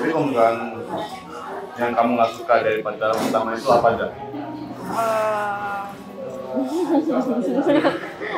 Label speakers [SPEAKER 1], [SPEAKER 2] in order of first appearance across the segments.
[SPEAKER 1] Jadi pembukaan yang kamu nggak suka dari pacaran pertama itu apa aja?
[SPEAKER 2] Eh,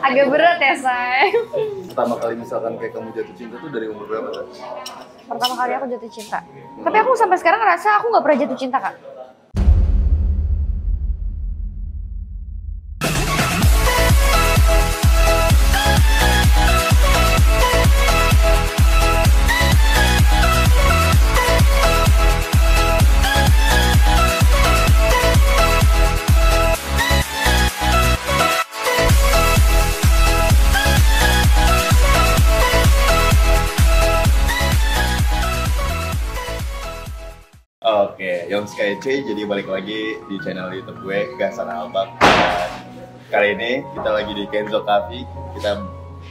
[SPEAKER 2] agak berat ya say
[SPEAKER 1] Pertama kali misalkan kayak kamu jatuh cinta tuh dari umur berapa? Kak?
[SPEAKER 2] pertama kali aku jatuh cinta tapi aku sampai sekarang ngerasa aku nggak pernah jatuh cinta kak
[SPEAKER 3] Oke, Yonska EC jadi balik lagi di channel YouTube gue Gasan Albak Dan kali ini kita lagi di Kenzo Coffee Kita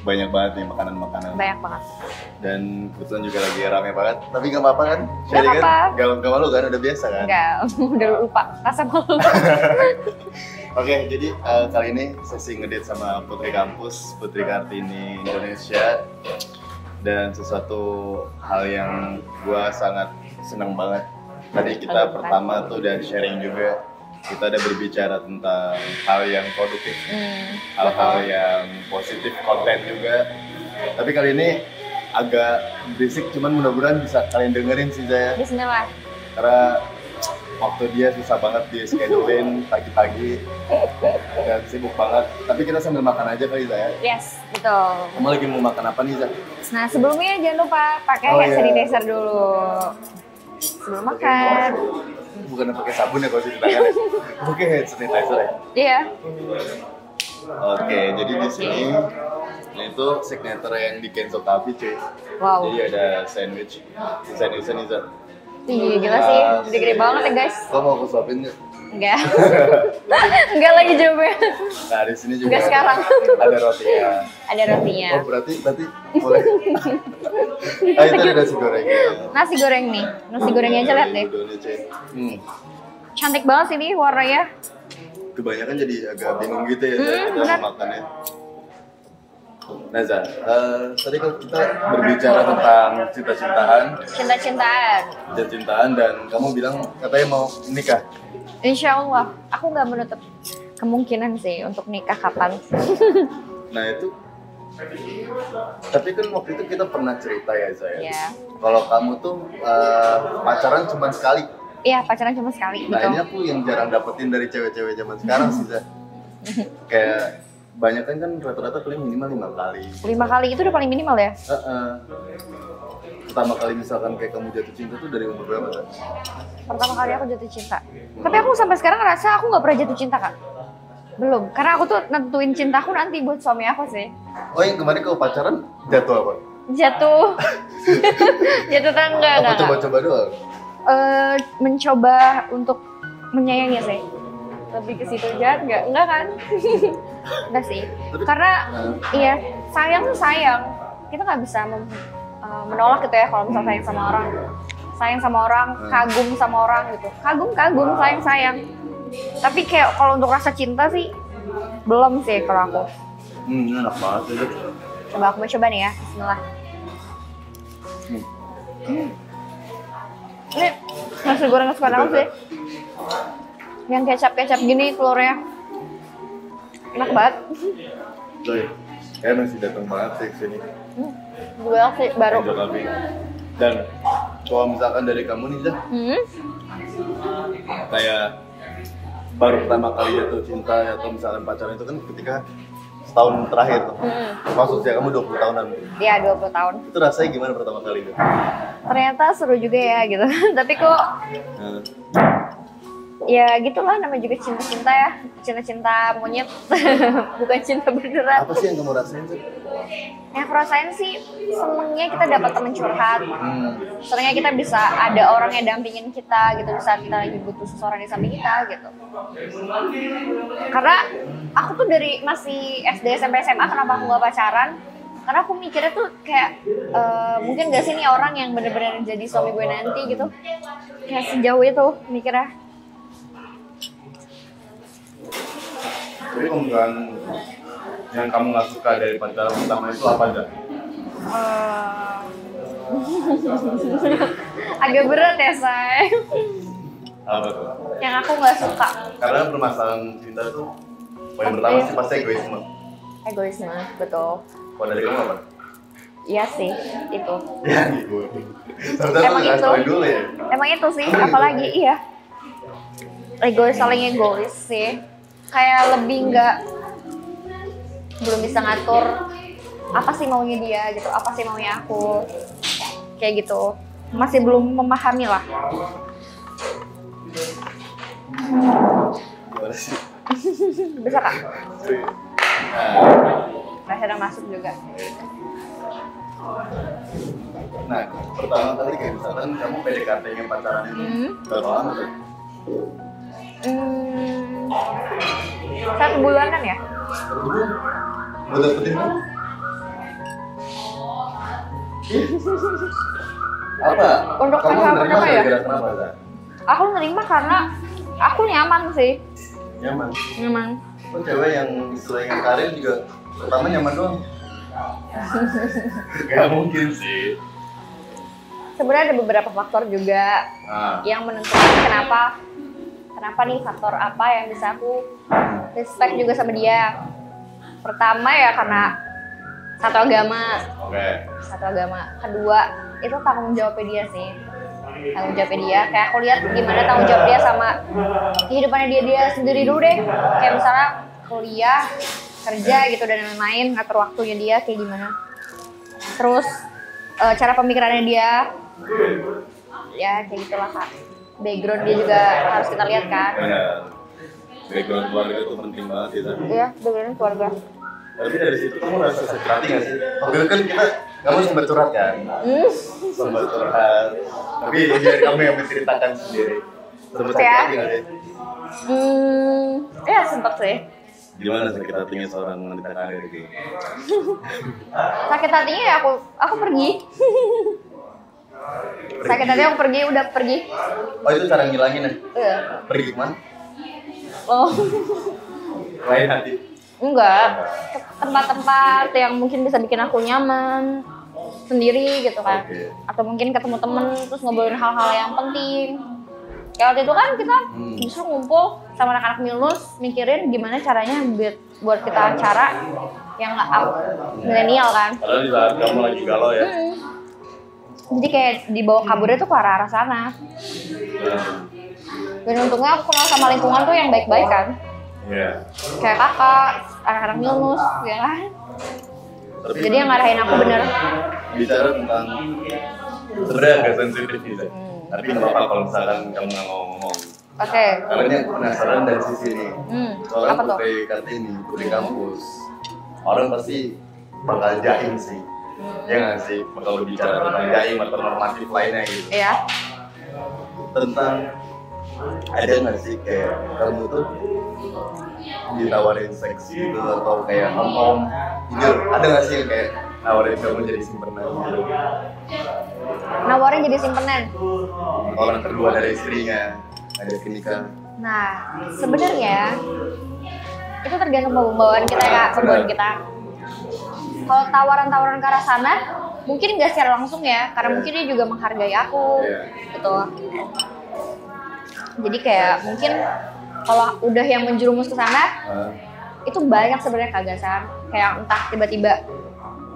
[SPEAKER 3] banyak banget nih makanan-makanan
[SPEAKER 2] banyak banget
[SPEAKER 3] Dan kebetulan juga lagi rame banget Tapi gak apa-apa kan? Sharing
[SPEAKER 2] apa-apa.
[SPEAKER 3] kan? Gak, gak malu kan? Udah biasa kan?
[SPEAKER 2] nggak udah lupa rasa malu
[SPEAKER 3] Oke, jadi eh, kali ini sesi ngedit sama Putri Kampus, Putri Kartini Indonesia dan sesuatu hal yang gua sangat senang banget. Tadi kita pertama tuh udah sharing juga, kita ada berbicara tentang hal yang produktif,
[SPEAKER 2] Hmm,
[SPEAKER 3] hal-hal yang positif, konten juga. Tapi kali ini agak berisik, cuman mudah-mudahan bisa kalian dengerin sih saya
[SPEAKER 2] Bismillah
[SPEAKER 3] karena waktu dia susah banget di schedulein pagi-pagi dan sibuk banget tapi kita sambil makan aja kali Zaya
[SPEAKER 2] yes betul
[SPEAKER 3] kamu lagi mau makan apa nih Zaya?
[SPEAKER 2] Nah sebelumnya jangan lupa pakai
[SPEAKER 3] Oh,
[SPEAKER 2] hand
[SPEAKER 3] iya.
[SPEAKER 2] sanitizer dulu sebelum makan.
[SPEAKER 3] bukan pakai sabun ya kalau cuci tangan ya pakai hand sanitizer ya
[SPEAKER 2] Iya.
[SPEAKER 3] oke jadi di sini ini tuh signature yang di cancel tapi cuy
[SPEAKER 2] Wow.
[SPEAKER 3] jadi ada sandwich sandwich sandwich
[SPEAKER 2] Iya gila sih, udah gede banget ya guys.
[SPEAKER 3] Kau mau aku suapin ya? nggak?
[SPEAKER 2] Enggak. Enggak lagi jawabnya.
[SPEAKER 3] Nah di sini juga
[SPEAKER 2] Nggak sekarang.
[SPEAKER 3] ada ya. rotinya.
[SPEAKER 2] Ada rotinya.
[SPEAKER 3] Oh berarti berarti boleh. ah itu ada nasi gorengnya.
[SPEAKER 2] Nasi goreng nih, nasi gorengnya aja lihat deh.
[SPEAKER 3] Hmm.
[SPEAKER 2] Cantik banget sih ini warnanya.
[SPEAKER 3] Kebanyakan jadi agak bingung gitu ya
[SPEAKER 2] Hmm,
[SPEAKER 3] Zah, kita
[SPEAKER 2] benar.
[SPEAKER 3] mau makannya. Nah Zah, eh, tadi kan kita berbicara tentang cinta-cintaan,
[SPEAKER 2] Cinta-cintaan.
[SPEAKER 3] cinta-cintaan dan kamu bilang katanya mau nikah.
[SPEAKER 2] Insya Allah, aku nggak menutup kemungkinan sih untuk nikah kapan.
[SPEAKER 3] Nah itu, tapi kan waktu itu kita pernah cerita ya Zah. ya?
[SPEAKER 2] Iya.
[SPEAKER 3] Kalau kamu tuh eh, pacaran cuma sekali.
[SPEAKER 2] Iya pacaran cuma sekali
[SPEAKER 3] Nah ini
[SPEAKER 2] betul.
[SPEAKER 3] aku yang jarang dapetin dari cewek-cewek zaman sekarang sih Zah. Kayak banyak kan kan rata-rata paling minimal lima kali.
[SPEAKER 2] Lima kali itu udah paling minimal ya.
[SPEAKER 3] Heeh. Pertama kali misalkan kayak kamu jatuh cinta tuh dari umur berapa kan?
[SPEAKER 2] pertama kali aku jatuh cinta. Tapi aku sampai sekarang ngerasa aku nggak pernah jatuh cinta kak. Belum, karena aku tuh nentuin cintaku nanti buat suami aku sih.
[SPEAKER 3] Oh yang kemarin kau pacaran jatuh apa?
[SPEAKER 2] Jatuh, jatuh tangga
[SPEAKER 3] Apa
[SPEAKER 2] nggak, Kak?
[SPEAKER 3] coba-coba doang?
[SPEAKER 2] Eh, mencoba untuk menyayangi sih. Lebih ke situ jahat nggak? Enggak kan? Enggak sih. Karena iya sayang tuh sayang. Kita nggak bisa mem- eh, menolak gitu ya kalau misalnya sayang sama orang. Sayang sama orang, kagum sama orang gitu. Kagum kagum, sayang sayang. Tapi kayak kalau untuk rasa cinta sih belum sih kalau aku.
[SPEAKER 3] Hmm, ini enak banget sih. Zah.
[SPEAKER 2] Coba aku mau coba nih ya. Bismillah.
[SPEAKER 3] Hmm.
[SPEAKER 2] Ini nasi goreng kesukaan aku sih. Yang kecap-kecap gini telurnya. Enak banget.
[SPEAKER 3] Coy, iya. kayak masih datang banget sih ke sini.
[SPEAKER 2] Hmm. Gue sih baru.
[SPEAKER 3] Angel Abi. Dan kalau misalkan dari kamu nih Zah,
[SPEAKER 2] Hmm.
[SPEAKER 3] kayak baru pertama kali jatuh cinta atau misalkan pacaran itu kan ketika setahun terakhir tuh.
[SPEAKER 2] Hmm.
[SPEAKER 3] Maksud saya kamu 20 tahunan.
[SPEAKER 2] Ya 20 tahun.
[SPEAKER 3] Itu rasanya gimana pertama kali itu?
[SPEAKER 2] Ternyata seru juga ya gitu. Tapi kok
[SPEAKER 3] Nah,
[SPEAKER 2] ya gitulah namanya juga cinta-cinta ya. Cinta-cinta monyet. Bukan cinta beneran.
[SPEAKER 3] apa sih yang kamu rasain sih?
[SPEAKER 2] Yang aku rasain sih senengnya kita dapat teman curhat.
[SPEAKER 3] Hmm.
[SPEAKER 2] Senengnya kita bisa ada orang yang dampingin kita gitu di saat kita lagi butuh seseorang di samping kita gitu. Karena aku tuh dari masih SD SMP SMA kenapa aku nggak pacaran? Karena aku mikirnya tuh kayak eh, mungkin gak sih nih orang yang bener-bener jadi suami gue nanti gitu. Kayak sejauh itu mikirnya.
[SPEAKER 1] Jadi pembukaan yang kamu nggak suka dari pacaran pertama itu apa aja?
[SPEAKER 2] eh, Agak berat ya, say.
[SPEAKER 1] Apa tuh?
[SPEAKER 2] Yang aku nggak suka.
[SPEAKER 3] Karena permasalahan cinta tuh poin
[SPEAKER 2] ya?
[SPEAKER 3] pertama sih pasti egoisme.
[SPEAKER 2] Egoisme, betul.
[SPEAKER 3] Kalau dari kamu apa?
[SPEAKER 2] Iya sih, itu.
[SPEAKER 3] Ya, gue. Sebenarnya
[SPEAKER 2] Emang
[SPEAKER 3] tuh jangan
[SPEAKER 2] itu?
[SPEAKER 3] tahu dulu ya.
[SPEAKER 2] Emang itu sih, apalagi iya. Egois, saling egois sih. Kayak lebih nggak belum bisa ngatur apa sih maunya dia gitu, apa sih maunya aku. Kayak gitu. Masih belum memahami lah.
[SPEAKER 1] Gimana sih?
[SPEAKER 2] Bisa kak?
[SPEAKER 1] Nah,
[SPEAKER 2] Akhirnya masuk juga.
[SPEAKER 1] nah,
[SPEAKER 3] Pertama kali kayak misalkan kamu PDKT nya pacaran itu
[SPEAKER 2] Hmm.
[SPEAKER 3] berapa lama tuh?
[SPEAKER 2] Hmm, satu bulanan ya?
[SPEAKER 3] Mau dapetin apa? Apa?
[SPEAKER 2] Untuk
[SPEAKER 3] kamu
[SPEAKER 2] pacaran
[SPEAKER 3] menerima
[SPEAKER 2] pertama ya?
[SPEAKER 3] gara-gara kenapa? Zah?
[SPEAKER 2] Aku nerima karena aku nyaman sih.
[SPEAKER 3] Nyaman.
[SPEAKER 2] Nyaman.
[SPEAKER 3] Kok cewek yang istilahnya karir juga pertama nyaman doang?
[SPEAKER 1] gak mungkin sih.
[SPEAKER 2] Sebenarnya ada beberapa faktor juga
[SPEAKER 1] Nah,
[SPEAKER 3] Ah.
[SPEAKER 2] yang menentukan kenapa kenapa nih faktor apa yang bisa aku respect juga sama dia. Pertama ya karena satu agama,
[SPEAKER 1] oke.
[SPEAKER 2] satu agama. Kedua itu tanggung jawabnya dia sih tanggung jawabnya dia kayak aku lihat gimana tanggung jawab dia sama kehidupannya dia dia sendiri dulu deh kayak misalnya kuliah kerja gitu dan lain-lain ngatur waktunya dia kayak gimana terus eh, cara pemikirannya dia ya kayak gitulah kak background dia juga harus kita lihat kan
[SPEAKER 1] Benar. Background keluarga tuh penting banget sih, tapi
[SPEAKER 2] ya background keluarga
[SPEAKER 3] Tapi dari situ kamu rasa sakit hati nggak sih? Waktu itu kan kita, kamu sempat curhat kan?
[SPEAKER 2] hmm.
[SPEAKER 3] Sempat curhat. Tapi biar kamu yang menceritakan sendiri. Sempat sakit
[SPEAKER 2] Ya.
[SPEAKER 3] hati nggak sih?
[SPEAKER 2] hmm. ya sempet sih
[SPEAKER 1] gimana sakit hatinya seorang wanita karir gitu?
[SPEAKER 2] sakit hatinya ya aku aku pergi sakit hatinya aku pergi udah pergi
[SPEAKER 3] Oh itu cara ngilangin ya?
[SPEAKER 2] Eh,
[SPEAKER 3] Pergi kemana?
[SPEAKER 2] oh
[SPEAKER 3] Lain hati.
[SPEAKER 2] enggak Ke tempat-tempat yang mungkin bisa bikin aku nyaman sendiri gitu kan
[SPEAKER 3] Oke.
[SPEAKER 2] atau mungkin ketemu temen terus ngobrolin hal-hal yang penting ya waktu itu kan kita
[SPEAKER 3] Hmm.
[SPEAKER 2] justru ngumpul sama anak-anak milus mikirin gimana caranya buat buat kita acara yang nggak up milenial kan
[SPEAKER 1] Padahal di saat kamu lagi galau ya.
[SPEAKER 2] Mm. Jadi kayak dibawa kaburnya tuh ke arah arah sana. Dan untungnya aku kenal sama lingkungan tuh yang baik-baik kan.
[SPEAKER 1] Iya.
[SPEAKER 2] Kayak kakak, anak-anak Milnus, ya kan.
[SPEAKER 1] Tapi
[SPEAKER 2] Jadi yang ngarahin aku bener.
[SPEAKER 3] Bicara tentang
[SPEAKER 1] sebenarnya agak sensitif sih. Zak.
[SPEAKER 2] Hmm.
[SPEAKER 1] Tapi nggak apa-apa kalau misalkan kamu nggak mau ngomong.
[SPEAKER 2] Oke.
[SPEAKER 3] karena ini aku penasaran dari sisi ini.
[SPEAKER 2] Hmm.
[SPEAKER 3] Soalnya
[SPEAKER 2] Apa tuh?
[SPEAKER 3] putri kartini, putri kampus, orang pasti bakal jaim sih. Ya nggak sih, bakal bicara tentang jaim atau normatif lainnya gitu.
[SPEAKER 2] Iya.
[SPEAKER 3] Tentang ada nggak sih kayak kamu tuh ditawarin seks gitu atau kayak ngomong jujur ada nggak sih yang kayak nawarin kamu jadi simpenan gitu
[SPEAKER 2] Nawarin jadi simpenan.
[SPEAKER 3] orang kedua dari istrinya ada nikah
[SPEAKER 2] Nah, sebenarnya itu tergantung pembawaan kita ya, Kak, pembawaan kita. Kalau tawaran-tawaran ke arah sana, mungkin nggak secara langsung ya, karena mungkin dia juga menghargai aku,
[SPEAKER 3] Iya.
[SPEAKER 2] gitu. Jadi kayak mungkin kalau udah yang menjerumus ke sana,
[SPEAKER 3] Hah?
[SPEAKER 2] itu banyak sebenarnya kegagasan. Kayak entah tiba-tiba,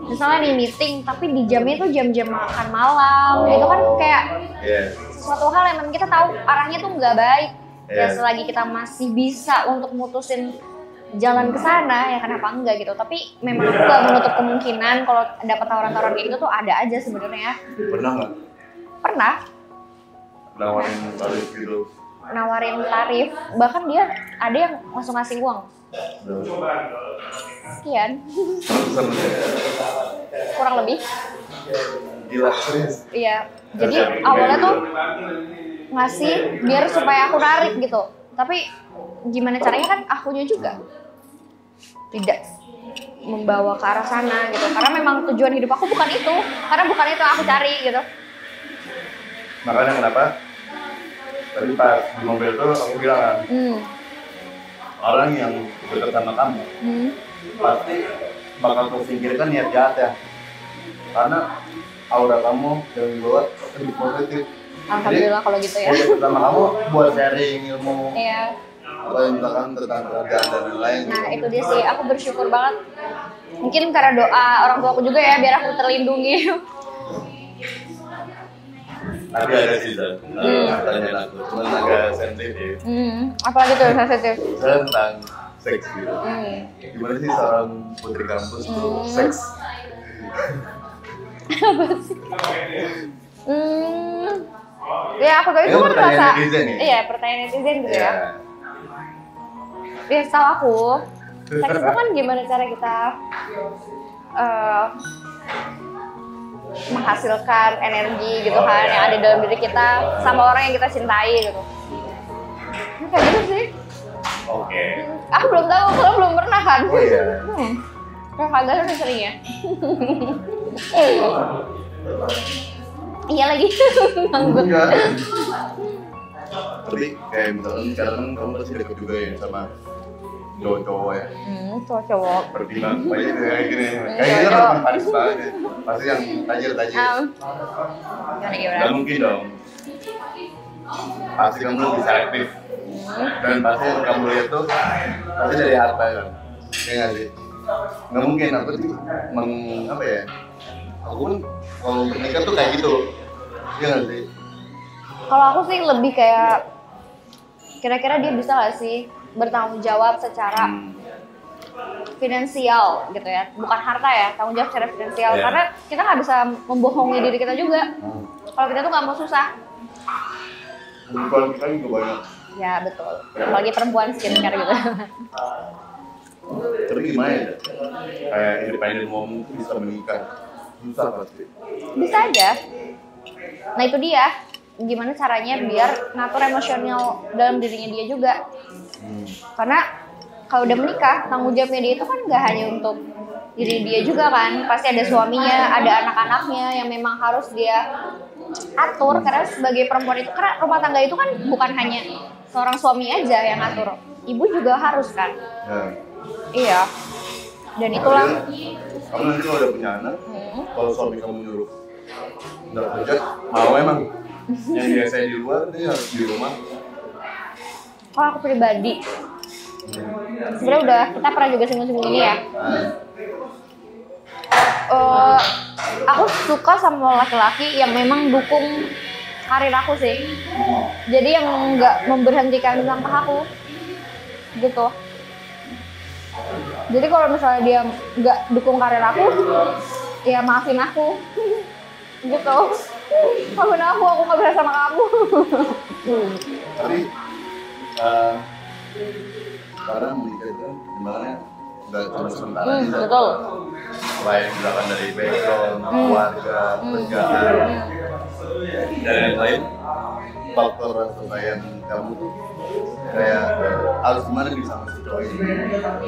[SPEAKER 2] misalnya nih meeting, tapi di jamnya itu jam-jam makan malam, itu kan kayak
[SPEAKER 3] Iya.
[SPEAKER 2] sesuatu hal yang memang kita tahu arahnya tuh nggak baik. Ya
[SPEAKER 3] Iya.
[SPEAKER 2] selagi kita masih bisa untuk mutusin jalan ke sana ya kenapa enggak gitu. Tapi memang aku nggak menutup kemungkinan kalau dapat tawaran-tawaran kayak gitu tuh ada aja sebenarnya. ya.
[SPEAKER 3] pernah nggak
[SPEAKER 2] Pernah
[SPEAKER 3] nawarin balik gitu
[SPEAKER 2] nawarin tarif, bahkan dia ada yang langsung ngasih uang sekian
[SPEAKER 3] Sama
[SPEAKER 2] kurang lebih.
[SPEAKER 3] gila serius
[SPEAKER 2] Iya. Jadi awalnya tuh ngasih biar supaya aku narik gitu. Tapi gimana caranya kan akunya juga tidak membawa ke arah sana gitu. Karena memang tujuan hidup aku bukan itu. Karena bukan itu yang aku cari gitu.
[SPEAKER 3] makanya kenapa tadi pas di mobil tuh aku bilang kan
[SPEAKER 2] Hmm.
[SPEAKER 3] orang yang dekat sama kamu
[SPEAKER 2] Hmm.
[SPEAKER 3] kan pasti bakal tersingkirkan niat jahatnya ya. karena aura kamu yang dibawa akan dipositif.
[SPEAKER 2] Alhamdulillah kalau gitu ya.
[SPEAKER 3] Jadi pertama kamu buat sharing ilmu
[SPEAKER 2] Iya.
[SPEAKER 3] apa yang belakang tentang kerjaan dan lain-lain.
[SPEAKER 2] Nah itu dia sih, aku bersyukur banget. Mungkin karena doa orang tua aku juga ya, biar aku terlindungi.
[SPEAKER 3] Tapi ada sih Zan, eh, pertanyaan aku, cuman agak sensitif
[SPEAKER 2] Hmm, apalagi tuh sensitif.
[SPEAKER 3] tentang seks gitu.
[SPEAKER 2] Hmm.
[SPEAKER 3] Gimana sih seorang putri kampus tuh
[SPEAKER 2] Hmm.
[SPEAKER 3] seks?
[SPEAKER 2] Hmm. Ya aku tadi
[SPEAKER 3] Ini
[SPEAKER 2] tuh kan
[SPEAKER 3] pertanyaan
[SPEAKER 2] merasa
[SPEAKER 3] netizen ya? Iya.
[SPEAKER 2] Iya, pertanyaan netizen gitu ya. Ya, setahu aku, seks itu kan gimana cara kita eh, menghasilkan energi gitu
[SPEAKER 3] Oh,
[SPEAKER 2] kan
[SPEAKER 3] iya.
[SPEAKER 2] yang ada dalam diri kita sama orang yang kita cintai gitu. Ya, Kayak gitu sih.
[SPEAKER 3] Oke.
[SPEAKER 2] Aku belum tahu, kalau belum pernah kan.
[SPEAKER 3] Oh iya.
[SPEAKER 2] Hmm. Kalau kagak udah sering ya. iya lagi. Nganggur.
[SPEAKER 3] Enggak. Tapi kayak misalkan sekarang kan kamu pasti deket juga ya sama cowok-cowok ya.
[SPEAKER 2] Hmm, cowok-cowok.
[SPEAKER 3] Pertimbang banyak juga kayak gini. Kayak gitu kan
[SPEAKER 2] Cowok.
[SPEAKER 3] orang Paris banget. ya. Pasti yang tajir-tajir.
[SPEAKER 2] Um, gimana gimana?
[SPEAKER 3] Gak mungkin dong. Pasti kamu lebih selektif. Dan pasti yang kamu lihat tuh pasti dari harta kan. Iya nggak sih? Nggak mungkin aku tuh meng apa ya? Aku pun kalau bernikah tuh kayak gitu. Iya nggak sih?
[SPEAKER 2] Kalau aku sih lebih kayak kira-kira dia bisa gak sih bertanggung jawab secara
[SPEAKER 3] Hmm.
[SPEAKER 2] finansial gitu ya, bukan harta ya, tanggung jawab secara finansial.
[SPEAKER 3] Iya.
[SPEAKER 2] Karena kita nggak bisa membohongi diri kita juga. Kalau kita tuh nggak mau susah,
[SPEAKER 3] Kebutuhan kita juga banyak.
[SPEAKER 2] ya betul. Apalagi perempuan skincare gitu.
[SPEAKER 3] Tapi gimana ya? Kayak independen mom tuh bisa menikah. Susah pasti.
[SPEAKER 2] bisa aja. Nah itu dia, gimana caranya biar ngatur emosional dalam dirinya dia juga. karena kalau udah menikah tanggung jawabnya dia itu kan nggak hanya untuk diri dia juga kan pasti ada suaminya ada anak-anaknya yang memang harus dia atur karena sebagai perempuan itu karena rumah tangga itu kan bukan hanya seorang suami aja yang ngatur ibu juga harus kan
[SPEAKER 3] Ya.
[SPEAKER 2] iya dan itulah
[SPEAKER 3] Kamu nanti kalau udah punya anak,
[SPEAKER 2] Hmm.
[SPEAKER 3] kalau suami kamu nyuruh nggak kerja mau emang yang biasanya di luar dia harus di rumah
[SPEAKER 2] kalau Oh, aku pribadi sebenarnya udah kita pernah juga singgung-singgung ini ya
[SPEAKER 3] nah,
[SPEAKER 2] Eh, aku suka sama laki-laki yang memang dukung karir aku sih jadi yang nggak memberhentikan langkah aku gitu jadi kalau misalnya dia nggak dukung karir aku ya maafin aku gitu maafin aku aku nggak bisa sama kamu
[SPEAKER 3] tapi eh sekarang menikah itu sebenarnya nggak cuma sementara
[SPEAKER 2] Hmm,
[SPEAKER 3] juga.
[SPEAKER 2] betul.
[SPEAKER 3] selain misalkan dari background keluarga kerjaan dan yang lain faktor kebayaan kamu tuh kayak eh, harus gimana nih sama si cowok ini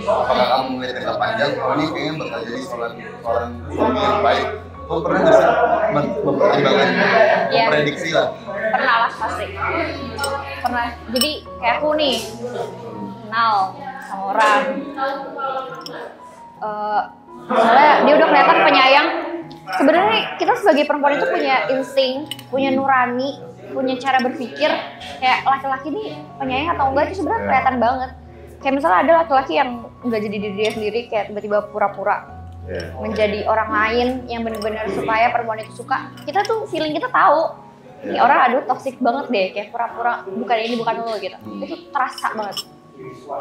[SPEAKER 3] apakah kamu melihat jangka panjang oh ini kayaknya bakal jadi seorang seorang suami yang baik kamu pernah nggak sih mem- mempertimbangkan
[SPEAKER 2] Ya. Iya.
[SPEAKER 3] memprediksi lah
[SPEAKER 2] pernah lah pasti pernah jadi kayak aku nih kenal sama orang Eh, misalnya dia udah kelihatan penyayang sebenarnya kita sebagai perempuan itu punya insting punya nurani punya cara berpikir kayak laki-laki nih penyayang atau enggak itu sebenarnya kelihatan banget kayak misalnya ada laki-laki yang nggak jadi diri dia sendiri kayak tiba-tiba pura-pura
[SPEAKER 3] ya
[SPEAKER 2] menjadi orang lain yang benar-benar supaya perempuan itu suka kita tuh feeling kita tahu ini orang aduh toxic banget deh kayak pura-pura bukan ini bukan lo gitu itu terasa banget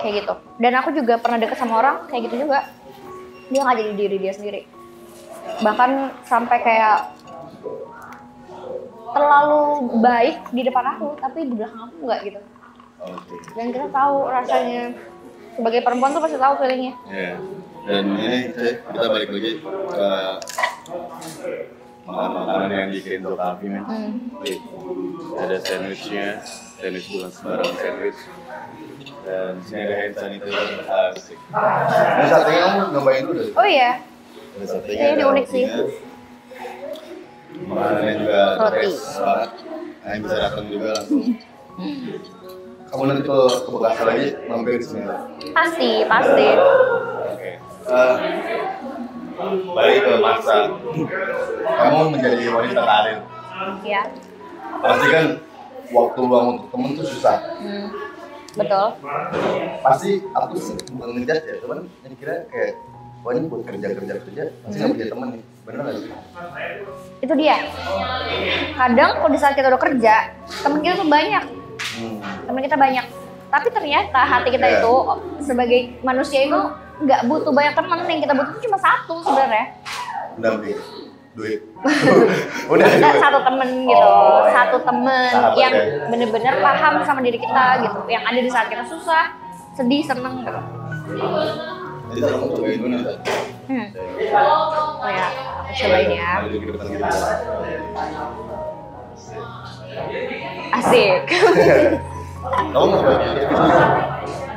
[SPEAKER 2] kayak gitu dan aku juga pernah deket sama orang kayak gitu juga dia nggak jadi diri dia sendiri bahkan sampai kayak terlalu baik di depan aku tapi di belakang aku nggak gitu
[SPEAKER 3] oke
[SPEAKER 2] dan kita tahu rasanya sebagai perempuan tuh pasti tahu feelingnya
[SPEAKER 3] ya dan ini Cek, kita balik lagi ke makanan yang dikirim untuk Alfi men
[SPEAKER 2] Hmm.
[SPEAKER 3] Nih, ada sandwichnya sandwich bulan sembarang sandwich dan sini ada hand sanitizer asik dan satenya kamu nyobain dulu
[SPEAKER 2] oh iya
[SPEAKER 3] Ada satenya,
[SPEAKER 2] Kayaknya
[SPEAKER 3] ada
[SPEAKER 2] ini unik sih.
[SPEAKER 3] rotinya. makanannya juga the
[SPEAKER 2] Roti.
[SPEAKER 3] best banget kalian bisa datang juga langsung kamu nanti kalau ke Bekasi lagi mampir di sini
[SPEAKER 2] pasti pasti
[SPEAKER 3] Oke. Eh, balik ke masa kamu menjadi wanita karir
[SPEAKER 2] Iya.
[SPEAKER 3] pasti kan waktu luang untuk temen tuh susah
[SPEAKER 2] Hmm. Betul.
[SPEAKER 3] pasti aku sih bukan ngejat ya cuman yang kira kayak wah ini buat kerja kerja kerja pasti nggak punya temen nih bener nggak sih
[SPEAKER 2] Itu dia. Kadang kalau di saat kita udah kerja, temen kita tuh banyak.
[SPEAKER 3] hmm.
[SPEAKER 2] teman kita banyak tapi ternyata hati kita
[SPEAKER 3] Iya.
[SPEAKER 2] itu sebagai manusia itu nggak butuh banyak teman yang kita butuh itu cuma satu sebenarnya
[SPEAKER 3] bener nih duit udah
[SPEAKER 2] Kita
[SPEAKER 3] duit.
[SPEAKER 2] satu temen gitu
[SPEAKER 3] Oh, iya.
[SPEAKER 2] satu temen
[SPEAKER 3] Sahabat
[SPEAKER 2] yang
[SPEAKER 3] ya.
[SPEAKER 2] bener-bener paham sama diri kita gitu yang ada di saat kita susah sedih seneng gitu
[SPEAKER 3] jadi kamu cobain dulu nih
[SPEAKER 2] hmm. oh ya aku cobain ya
[SPEAKER 3] Maju ke depan kita.
[SPEAKER 2] asik
[SPEAKER 3] kamu mau cobain dulu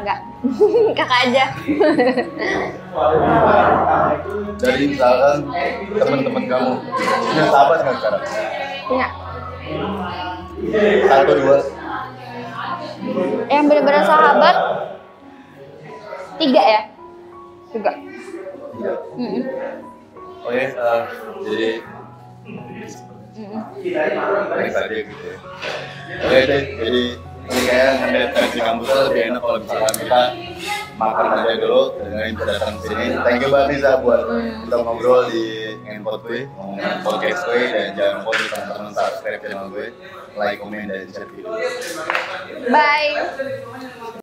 [SPEAKER 2] enggak kakak aja
[SPEAKER 3] dari misalkan teman-teman kamu punya sahabat nggak sekarang
[SPEAKER 2] punya
[SPEAKER 3] satu dua
[SPEAKER 2] yang bener-bener sahabat tiga ya tiga
[SPEAKER 3] tiga
[SPEAKER 2] Mm-mm.
[SPEAKER 3] oke eh, jadi
[SPEAKER 2] Mm-mm.
[SPEAKER 3] next aja gitu ya oke deh jadi ini kayak ngeliat dari di kampus tuh lebih enak kalau misalkan kita makan aja dulu dengan bisa datang ke sini thank you banget Riza buat
[SPEAKER 2] Hmm.
[SPEAKER 3] kita ngobrol di Ngenpot gue ngomongin podcast gue dan jangan lupa untuk teman-teman subscribe channel gue like, comment, dan share video
[SPEAKER 2] bye